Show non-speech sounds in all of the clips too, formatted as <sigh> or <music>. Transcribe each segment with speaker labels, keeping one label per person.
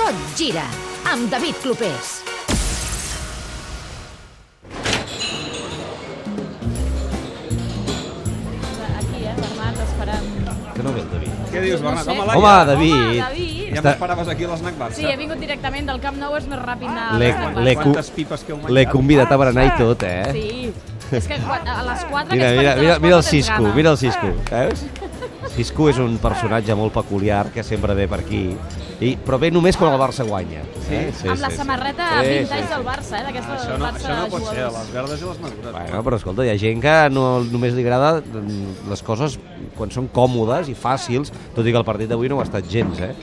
Speaker 1: Tot gira amb David Clopés.
Speaker 2: Aquí, eh, Bernat, esperant.
Speaker 3: Que no ve el David.
Speaker 4: Què dius, Bernat?
Speaker 2: sé.
Speaker 4: Home,
Speaker 3: Home,
Speaker 4: Laia,
Speaker 3: David.
Speaker 2: Home, David.
Speaker 4: ja
Speaker 3: Està-
Speaker 4: m'esperaves aquí a l'esnac Barça.
Speaker 2: Sí, he vingut directament del Camp Nou, és més ràpid anar a
Speaker 3: L'he-
Speaker 2: l'esnac
Speaker 3: l'he
Speaker 2: Barça.
Speaker 3: cu-
Speaker 4: Quantes pipes que heu
Speaker 3: L'he
Speaker 4: menjat.
Speaker 3: convidat a berenar i tot, eh?
Speaker 2: Sí. És que quan- a les 4
Speaker 3: Mira,
Speaker 2: aquests
Speaker 3: mira,
Speaker 2: partits a
Speaker 3: mira,
Speaker 2: les
Speaker 3: mira el
Speaker 2: quatre tens
Speaker 3: Cisco,
Speaker 2: gana.
Speaker 3: mira el Cisco, veus? Cisco és un personatge molt peculiar que sempre ve per aquí, i, però ve només quan el Barça guanya. Eh? Sí,
Speaker 2: Amb la samarreta
Speaker 3: Sí,
Speaker 2: vintage
Speaker 3: sí, sí.
Speaker 2: del Barça, eh, d'aquesta
Speaker 4: Això
Speaker 2: del
Speaker 4: no,
Speaker 2: Barça
Speaker 4: això no pot ser,
Speaker 2: jugadors.
Speaker 4: les verdes i les madures.
Speaker 3: Bueno, però escolta, hi ha gent que no, només li agrada mm, les coses quan són còmodes i fàcils, tot i que el partit d'avui no ho ha estat gens, eh?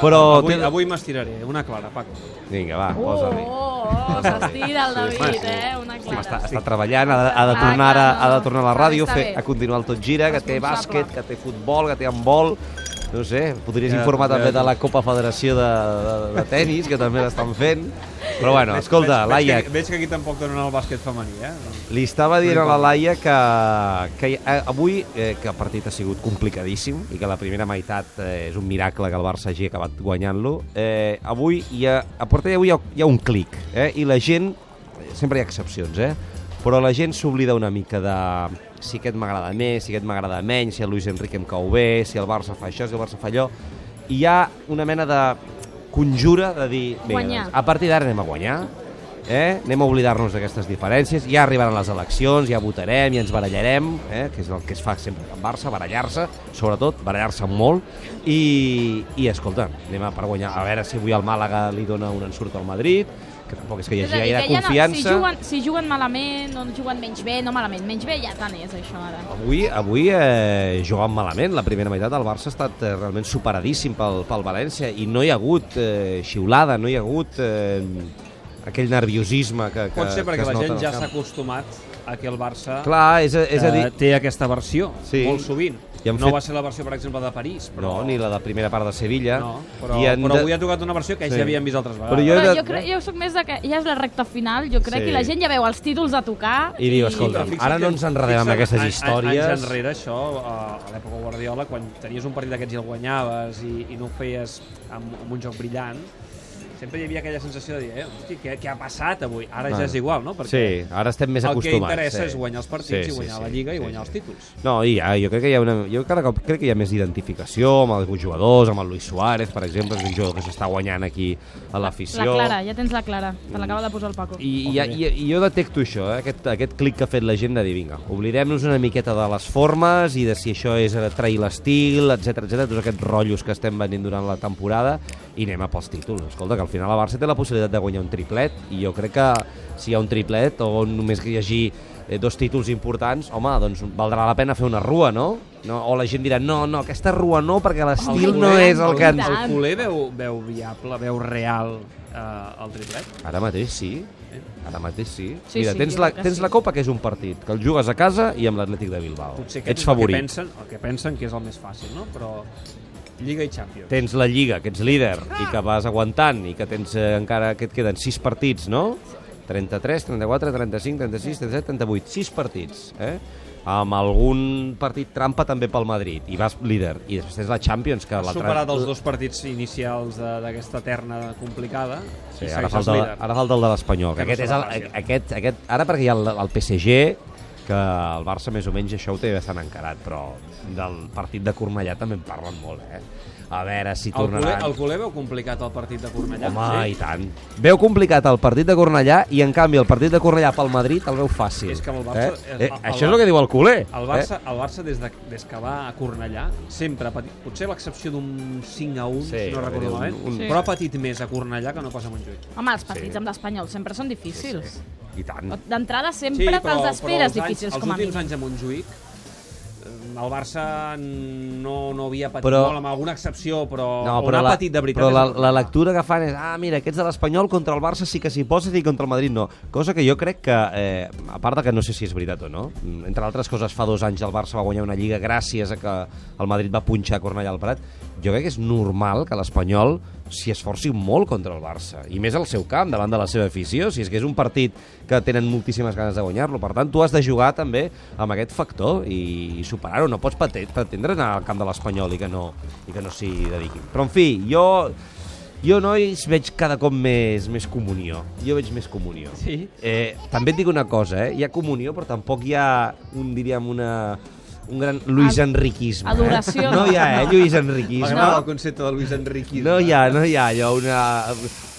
Speaker 3: Però...
Speaker 4: avui,
Speaker 3: té-
Speaker 4: avui m'estiraré, una clara, Paco.
Speaker 3: Vinga, va,
Speaker 2: Oh,
Speaker 3: posa-li.
Speaker 2: oh, oh, s'estira el
Speaker 3: Sí,
Speaker 2: David,
Speaker 3: sí.
Speaker 2: eh? Una clara.
Speaker 3: Està, està treballant, ha de, ha de
Speaker 2: Ah,
Speaker 3: tornar a,
Speaker 2: clar,
Speaker 3: ha
Speaker 2: no.
Speaker 3: de tornar a la ràdio,
Speaker 2: Està
Speaker 3: fer,
Speaker 2: bé.
Speaker 3: a continuar el tot gira, que té
Speaker 2: Responsable.
Speaker 3: bàsquet, que té futbol, que té handbol, no sé, podries
Speaker 4: Ja,
Speaker 3: informar
Speaker 4: ja.
Speaker 3: també de la Copa Federació de, de, de tenis, que també l'estan fent. Però bueno,
Speaker 4: Veig-
Speaker 3: escolta,
Speaker 4: veig-
Speaker 3: Laia,
Speaker 4: Veig, que, veig que aquí tampoc donen el bàsquet femení, eh?
Speaker 3: li estava dient a la Laia que, que hi- eh, avui, eh, que el partit ha sigut complicadíssim i que la primera meitat eh, és un miracle que el Barça hagi acabat guanyant-lo, eh, avui hi ha, a Porta avui hi ha, hi ha un clic, eh, i la gent, eh, sempre hi ha excepcions, eh, però la gent s'oblida una mica de si aquest m'agrada més, si aquest m'agrada menys, si el Luis Enrique em cau bé, si el Barça fa això, si el Barça fa allò... I hi ha una mena de conjura de dir... "Vinga,
Speaker 2: Guanyar.
Speaker 3: doncs, a partir d'ara anem a guanyar, eh? anem a oblidar-nos d'aquestes diferències, ja arribaran les eleccions, ja votarem, ja ens barallarem, eh? que és el que es fa sempre amb Barça, barallar-se, sobretot, barallar-se molt, i, i escolta, anem a per guanyar, a veure si avui el Màlaga li dona un ensurt al Madrid, que tampoc és que hi
Speaker 2: És a
Speaker 3: hagi
Speaker 2: dir,
Speaker 3: gaire
Speaker 2: que ja no-
Speaker 3: confiança.
Speaker 2: Si juguen, si juguen malament, no juguen menys bé, no malament, menys bé, ja tant és això ara.
Speaker 3: Avui, avui eh, jugant malament, la primera meitat el Barça ha estat eh, realment superadíssim pel, pel València i no hi ha hagut eh, xiulada, no hi ha hagut eh, aquell nerviosisme que, que
Speaker 4: Pot ser perquè
Speaker 3: que es
Speaker 4: la
Speaker 3: nota en
Speaker 4: gent
Speaker 3: el
Speaker 4: ja
Speaker 3: camp.
Speaker 4: s'ha acostumat a que el Barça
Speaker 3: Clar, és, a- és a dir,
Speaker 4: eh, té aquesta versió,
Speaker 3: Sí.
Speaker 4: molt sovint.
Speaker 3: I han
Speaker 4: no
Speaker 3: fet-
Speaker 4: va ser la versió, per exemple, de París. Però...
Speaker 3: no, ni la de primera part de Sevilla.
Speaker 4: No, però,
Speaker 3: I han
Speaker 4: però
Speaker 3: de-
Speaker 4: avui ha tocat una versió que
Speaker 3: Sí.
Speaker 4: ja havíem vist altres
Speaker 3: Però
Speaker 4: vegades.
Speaker 3: Jo he
Speaker 2: Però
Speaker 3: de-
Speaker 2: jo, crec, jo soc més de que ja és la recta final, jo crec,
Speaker 3: Sí.
Speaker 2: sí. i la gent ja veu els títols a tocar.
Speaker 3: I diu, escolta,
Speaker 4: Però fixa't
Speaker 3: ara no
Speaker 4: que-
Speaker 3: ens enredem amb
Speaker 4: fixa't,
Speaker 3: aquestes
Speaker 4: anys-
Speaker 3: històries.
Speaker 4: Anys enrere, això, eh, a l'època Guardiola, quan tenies un partit d'aquests i el guanyaves i, i no ho feies amb, amb un joc brillant, sempre hi havia aquella sensació de dir, eh, hosti, què, què ha passat avui? Ara ja és igual, no?
Speaker 3: Ah. Sí, ara estem més
Speaker 4: el que
Speaker 3: acostumats.
Speaker 4: interessa
Speaker 3: sí.
Speaker 4: és guanyar els partits i guanyar la Lliga i guanyar els títols.
Speaker 3: No, i ja, jo crec que hi ha una, jo cada cop crec que hi ha més identificació amb alguns jugadors, amb el Luis Suárez, per exemple, és un jugador que s'està guanyant aquí a
Speaker 2: La
Speaker 3: l'afició.
Speaker 2: Clara, ja tens la Clara, te l'acaba de posar el Paco. I...
Speaker 3: I, i, i, i jo detecto això, eh? aquest, aquest clic que ha fet la gent de dir, vinga, oblidem-nos una miqueta de les formes i de si això és eh, trair l'estil, etc etc tots aquests rotllos que estem venint durant la temporada i anem a pels títols. Escolta, que al final el Barça té la possibilitat de guanyar un triplet i jo crec que si hi ha un triplet o només que hi hagi eh, dos títols importants, home, doncs valdrà la pena fer una rua, no? no o la gent dirà, no, no, aquesta rua no, perquè l'estil no és el que ens...
Speaker 4: El culer veu, veu viable, veu real eh, el triplet?
Speaker 3: Ara mateix sí.
Speaker 4: Eh?
Speaker 3: Ara mateix sí.
Speaker 2: Sí,
Speaker 3: Mira,
Speaker 2: sí,
Speaker 3: tens,
Speaker 2: jo
Speaker 3: la,
Speaker 2: crec que
Speaker 3: tens
Speaker 2: sí.
Speaker 3: la Copa, que és un partit, que el jugues a casa i amb l'Atlètic de Bilbao.
Speaker 4: Potser aquest
Speaker 3: Ets
Speaker 4: és el que,
Speaker 3: favorit.
Speaker 4: pensen, el que pensen que és el més fàcil, no? Però Lliga i Champions.
Speaker 3: Tens la Lliga, que ets líder, i que vas aguantant, i que tens eh, encara que et queden 6 partits, no? 33, 34, 35, 36, 37, 38. 6 partits, eh? amb algun partit trampa també pel Madrid i vas líder i després tens la Champions que
Speaker 4: Has
Speaker 3: l'altre-
Speaker 4: superat els dos partits inicials de- d'aquesta terna complicada
Speaker 3: Sí,
Speaker 4: i
Speaker 3: ara
Speaker 4: segueixes
Speaker 3: falta,
Speaker 4: líder.
Speaker 3: ara falta el de l'Espanyol. que
Speaker 4: Que no
Speaker 3: Aquest és el,
Speaker 4: serà fàcil.
Speaker 3: aquest, aquest, ara perquè hi ha el, el PSG, que el Barça més o menys això ho té bastant encarat, però del partit de Cornellà també en parlen molt, eh? A veure si
Speaker 4: El culer,
Speaker 3: tornaran...
Speaker 4: el culer veu complicat el partit de Cornellà.
Speaker 3: Home,
Speaker 4: sí?
Speaker 3: i tant. Veu complicat el partit de Cornellà i, en canvi, el partit de Cornellà pel Madrid el veu fàcil.
Speaker 4: És que amb el Barça-
Speaker 3: Eh?
Speaker 4: el-
Speaker 3: Eh,
Speaker 4: el-
Speaker 3: això és el que diu el culer.
Speaker 4: El Barça,
Speaker 3: Eh?
Speaker 4: el Barça des, de, des que va a Cornellà, sempre ha patit, potser a l'excepció d'un 5 a 1,
Speaker 3: Sí,
Speaker 4: si no recordo
Speaker 3: un-
Speaker 4: malament,
Speaker 3: un-
Speaker 2: Sí.
Speaker 4: però ha patit més a Cornellà que no pas a Montjuïc.
Speaker 2: Home, els partits
Speaker 3: Sí.
Speaker 2: amb l'Espanyol sempre són difícils.
Speaker 3: Eh? I tant.
Speaker 2: D'entrada sempre te'ls esperes difícils,
Speaker 4: anys,
Speaker 2: com a
Speaker 4: Els últims
Speaker 2: mínim.
Speaker 4: anys a Montjuïc, eh, el Barça no, no havia patit
Speaker 3: Però-
Speaker 4: però, molt, amb alguna excepció, però,
Speaker 3: No,
Speaker 4: on
Speaker 3: però,
Speaker 4: ha
Speaker 3: la,
Speaker 4: patit de veritat.
Speaker 3: però
Speaker 4: és
Speaker 3: la,
Speaker 4: a
Speaker 3: la
Speaker 4: Cornellà.
Speaker 3: lectura que fan és ah, mira, aquests de l'Espanyol contra el Barça sí que s'hi posen i contra el Madrid no. Cosa que jo crec que, eh, a part de que no sé si és veritat o no, mm, entre altres coses fa dos anys el Barça va guanyar una lliga gràcies a que el Madrid va punxar a Cornellà al Prat, jo crec que és normal que l'Espanyol s'hi esforci molt contra el Barça, i més al seu camp, davant de la seva afició, si és que és un partit que tenen moltíssimes ganes de guanyar-lo. Per tant, tu has de jugar també amb aquest factor i, i superar-ho. No pots pate- pretendre anar al camp de l'Espanyol i que no, i que no s'hi dediquin. Però, en fi, jo Jo, nois, veig cada cop més, més comunió. Jo veig més comunió.
Speaker 4: Sí.
Speaker 3: Eh, també et dic una cosa, eh? Hi ha comunió, però tampoc hi ha, un, diríem, una, un gran Luis
Speaker 2: Ad-
Speaker 3: Enriquisme.
Speaker 2: adoració,
Speaker 3: Eh? No hi ha, eh?
Speaker 2: no.
Speaker 3: Lluís Enriquisme.
Speaker 5: M'agrada el concepte de Luis Enriquisme.
Speaker 3: No hi ha, no hi ha allò, una,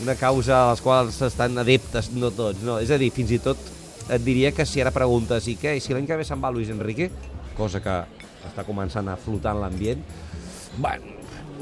Speaker 3: una causa a les quals estan adeptes, no tots, no. És a dir, fins i tot et diria que si ara preguntes i què, i si l'any que ve se'n va Luis Enrique, cosa que està començant a flotar en l'ambient, bueno,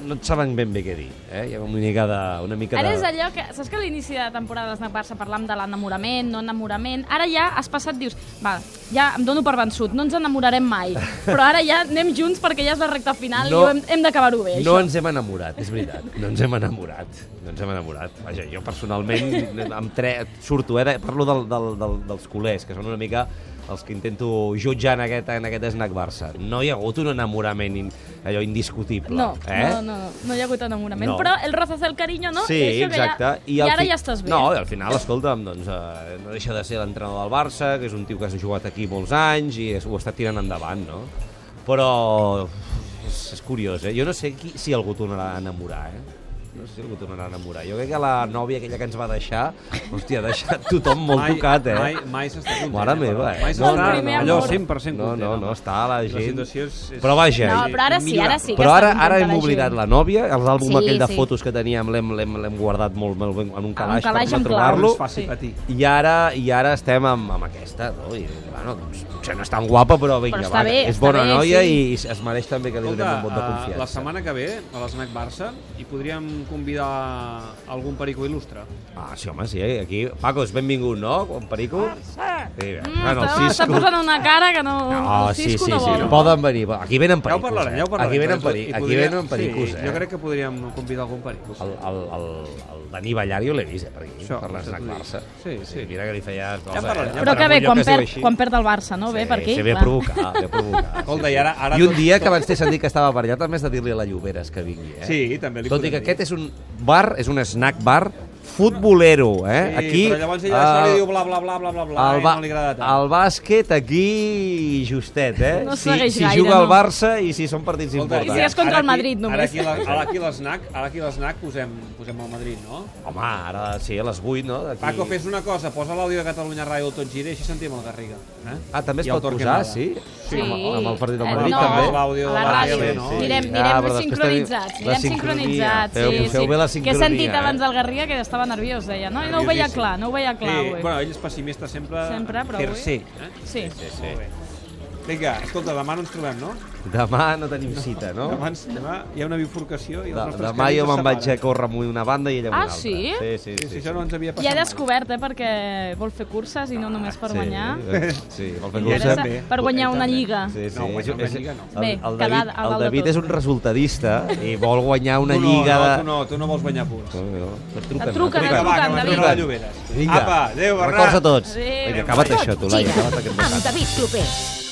Speaker 3: no et saben ben bé què dir, eh? Hi ha una mica de... Una mica
Speaker 2: Ara
Speaker 3: de...
Speaker 2: és allò que... Saps que a l'inici de la temporada del Barça parlàvem de l'enamorament, no enamorament... Ara ja has passat, dius, va, ja em dono per vençut, no ens enamorarem
Speaker 3: <laughs>
Speaker 2: mai. Però ara ja anem junts perquè ja és la recta final
Speaker 3: No.
Speaker 2: i ho hem, hem d'acabar-ho bé,
Speaker 3: No
Speaker 2: això.
Speaker 3: ens hem enamorat, és veritat. No ens hem enamorat. No ens hem enamorat. Vaja, jo personalment amb tre... surto, eh? de- Parlo del, del, del, dels culers, que són una mica els que intento jutjar en aquest, en aquest snack Barça. No hi ha hagut un enamorament in, allò indiscutible.
Speaker 2: No,
Speaker 3: eh?
Speaker 2: no, no, no hi ha hagut enamorament.
Speaker 3: No.
Speaker 2: Però el rozas el cariño, no?
Speaker 3: Sí,
Speaker 2: I això que
Speaker 3: exacte.
Speaker 2: Ja, I,
Speaker 3: al
Speaker 2: ara
Speaker 3: fi-
Speaker 2: ja estàs bé.
Speaker 3: No, i al final, escolta'm, doncs, eh, no deixa de ser l'entrenador del Barça, que és un tio que has jugat aquí molts anys i es, ho està tirant endavant, no? Però uf, és, és curiós, eh? Jo no sé qui, si algú tornarà a enamorar, eh? No sé si algú tornarà a enamorar. Jo crec que la nòvia aquella que ens va deixar, hòstia, ha deixat tothom molt tocat, eh?
Speaker 4: Mai, mai s'està content.
Speaker 3: Mare
Speaker 4: eh,
Speaker 3: meva,
Speaker 4: però
Speaker 3: eh?
Speaker 4: Mai
Speaker 3: No,
Speaker 4: s'està
Speaker 2: no, no,
Speaker 4: allò
Speaker 2: no.
Speaker 4: 100%
Speaker 3: No,
Speaker 4: content.
Speaker 3: no, no,
Speaker 4: home.
Speaker 3: està la
Speaker 4: La
Speaker 3: gent...
Speaker 4: situació és... és
Speaker 3: Però vaja,
Speaker 2: No, però ara sí, ara sí que
Speaker 3: però ara,
Speaker 2: està
Speaker 3: ara
Speaker 2: contenta
Speaker 3: hem
Speaker 2: la
Speaker 3: oblidat
Speaker 2: gent.
Speaker 3: la nòvia, l'àlbum
Speaker 1: Sí,
Speaker 3: aquell de
Speaker 1: sí.
Speaker 3: fotos que teníem l'hem- l'hem l'hem guardat molt, molt ben en un calaix,
Speaker 2: calaix
Speaker 3: per
Speaker 2: amb claus.
Speaker 3: no trobar-lo.
Speaker 4: No ens faci
Speaker 2: Sí.
Speaker 4: patir.
Speaker 3: I ara, I ara estem amb, amb aquesta, no? I, bueno, doncs, potser no és tan guapa, però vinga,
Speaker 2: està
Speaker 3: va,
Speaker 2: bé,
Speaker 3: és
Speaker 2: està
Speaker 3: bona
Speaker 2: bé,
Speaker 3: noia
Speaker 2: sí.
Speaker 3: i es mereix també que li donem
Speaker 4: Escolta,
Speaker 3: un vot de
Speaker 4: eh,
Speaker 3: confiança.
Speaker 4: la setmana que ve, a l'Snac Barça, hi podríem convidar algun perico il·lustre.
Speaker 3: Ah, sí, home, sí, eh? aquí... Paco, és benvingut, no? Quan Perico?
Speaker 4: Ah,
Speaker 3: Sí, bé.
Speaker 2: Mm,
Speaker 3: Bueno, el
Speaker 2: està, està
Speaker 3: Cisco-
Speaker 2: posant una cara que no...
Speaker 3: No,
Speaker 2: el
Speaker 3: sí, sí,
Speaker 2: Cisco
Speaker 3: sí,
Speaker 2: no vol.
Speaker 3: Poden venir. Aquí venen
Speaker 4: Ja ho
Speaker 3: pericos.
Speaker 4: parlarem,
Speaker 3: eh?
Speaker 4: ja ho parlarem.
Speaker 3: Aquí venen,
Speaker 4: però
Speaker 3: peri...
Speaker 4: hi
Speaker 3: aquí
Speaker 4: podria-
Speaker 3: venen pericos,
Speaker 4: sí,
Speaker 3: eh?
Speaker 4: Jo crec que podríem convidar algun perico.
Speaker 3: El, el, el, el Dani Ballari l'he vist, eh, per aquí,
Speaker 4: Això,
Speaker 3: per
Speaker 4: això
Speaker 3: l'esnac
Speaker 4: t'ho dic.
Speaker 3: Barça.
Speaker 4: Sí, sí.
Speaker 3: Mira que li feia... cosa,
Speaker 4: parlarem, ja
Speaker 3: eh?
Speaker 2: Però que bé,
Speaker 3: Algun lloc
Speaker 2: quan
Speaker 3: es diu
Speaker 2: perd,
Speaker 3: així.
Speaker 2: quan perd el Barça, no? Bé, per aquí.
Speaker 3: Sí, ve a
Speaker 2: clar.
Speaker 3: provocar,
Speaker 2: <laughs>
Speaker 3: ve a provocar.
Speaker 4: Escolta, i ara-
Speaker 3: I
Speaker 4: ara
Speaker 3: un
Speaker 4: tot-
Speaker 3: dia que abans t'he sentit que estava per allà, també has de dir-li a la Lloberes que vingui, eh?
Speaker 4: Sí, també li
Speaker 3: Tot i
Speaker 4: podem
Speaker 3: que
Speaker 4: dir.
Speaker 3: aquest és un bar, és un snack bar futbolero, eh?
Speaker 4: Sí,
Speaker 3: aquí,
Speaker 4: però llavors ella això
Speaker 3: eh,
Speaker 4: li diu bla, bla, bla, bla, bla, bla,
Speaker 3: el,
Speaker 4: i
Speaker 3: ba
Speaker 4: no li agrada tant.
Speaker 3: el bàsquet aquí justet, eh?
Speaker 2: No
Speaker 3: si,
Speaker 2: segueix
Speaker 3: si
Speaker 2: gaire,
Speaker 3: juga el
Speaker 2: no.
Speaker 3: Barça i si són partits
Speaker 4: Escolta,
Speaker 2: I si
Speaker 3: importants.
Speaker 2: és contra
Speaker 4: ara
Speaker 2: el Madrid,
Speaker 4: aquí,
Speaker 2: només.
Speaker 4: Ara aquí, la, ara aquí l'esnac, ara aquí l'esnac posem, posem el Madrid, no?
Speaker 3: Home, ara sí, a les 8, no? D'aquí-
Speaker 4: Paco, fes una cosa, posa l'àudio de Catalunya Ràdio al Tot Gira i així sentim el Garriga. Eh?
Speaker 3: Ah, també es
Speaker 4: I el
Speaker 3: pot posar,
Speaker 4: Torquemada.
Speaker 3: sí?
Speaker 2: Sí.
Speaker 3: Amb, amb el partit del
Speaker 2: Eh,
Speaker 3: Madrid,
Speaker 2: no,
Speaker 3: també?
Speaker 4: amb l'àudio
Speaker 2: a
Speaker 4: de
Speaker 2: la
Speaker 4: la
Speaker 2: ràdio.
Speaker 4: tele, no?
Speaker 2: Anirem,
Speaker 3: Sí.
Speaker 2: anirem
Speaker 3: Ah, però després
Speaker 2: sincronitzats,
Speaker 3: tenim- la
Speaker 2: anirem
Speaker 3: sincronia.
Speaker 2: sincronitzats.
Speaker 3: Feu- feu bé
Speaker 2: Que
Speaker 3: la
Speaker 2: he sentit
Speaker 3: sincronia,
Speaker 2: abans
Speaker 3: eh?
Speaker 2: el Garriga que estava nerviós, deia, no? I no ho veia
Speaker 4: Nerviosíssim.
Speaker 2: clar, no ho veia clar
Speaker 4: sí,
Speaker 2: avui.
Speaker 4: bueno, ell és pessimista sempre,
Speaker 2: Sempre, però
Speaker 4: per
Speaker 2: avui-
Speaker 4: se. Eh?
Speaker 2: Sí.
Speaker 3: Sí, sí.
Speaker 4: Molt bé. Vinga, escolta, demà no ens trobem, no?
Speaker 3: Demà no tenim cita, no?
Speaker 4: Demà, ens- demà hi ha una bifurcació i els
Speaker 3: De,
Speaker 4: nostres
Speaker 3: demà
Speaker 4: camins
Speaker 3: jo
Speaker 4: se
Speaker 3: me'n vaig a
Speaker 4: separen.
Speaker 3: córrer amb una banda i ella amb
Speaker 2: Ah,
Speaker 3: una altra.
Speaker 2: sí?
Speaker 3: Sí,
Speaker 4: Sí,
Speaker 3: sí,
Speaker 4: sí, això no ens havia
Speaker 2: I
Speaker 4: passat
Speaker 2: ha descobert, eh, perquè vol fer curses i no només per guanyar.
Speaker 3: eh, Sí, vol fer
Speaker 4: I
Speaker 2: Vol
Speaker 4: ell
Speaker 3: cursa.
Speaker 2: fer-
Speaker 4: també.
Speaker 2: Per guanyar una lliga.
Speaker 3: Sí, sí.
Speaker 4: No, guanyar una
Speaker 3: és- és-
Speaker 4: lliga no.
Speaker 3: El,
Speaker 2: Bé,
Speaker 3: el,
Speaker 2: quedar
Speaker 3: David,
Speaker 2: al
Speaker 3: el
Speaker 2: dalt de
Speaker 3: David
Speaker 2: tot.
Speaker 3: és un resultadista i vol guanyar una
Speaker 4: Tu no,
Speaker 3: lliga
Speaker 4: no,
Speaker 3: de...
Speaker 4: tu no, tu no vols guanyar punts.
Speaker 3: no.
Speaker 2: Et truquen, et
Speaker 4: Vinga, va, que
Speaker 2: truquen,
Speaker 4: m'entrega
Speaker 2: David.
Speaker 4: la Lloberes.
Speaker 3: Vinga,
Speaker 4: Apa, adéu, Bernat.
Speaker 3: records a tots.
Speaker 2: Adéu.
Speaker 3: Vinga, acaba't això, tu, Laia.
Speaker 1: Gira
Speaker 3: Acaba't aquest
Speaker 1: amb
Speaker 3: bocata.
Speaker 1: David Clopés.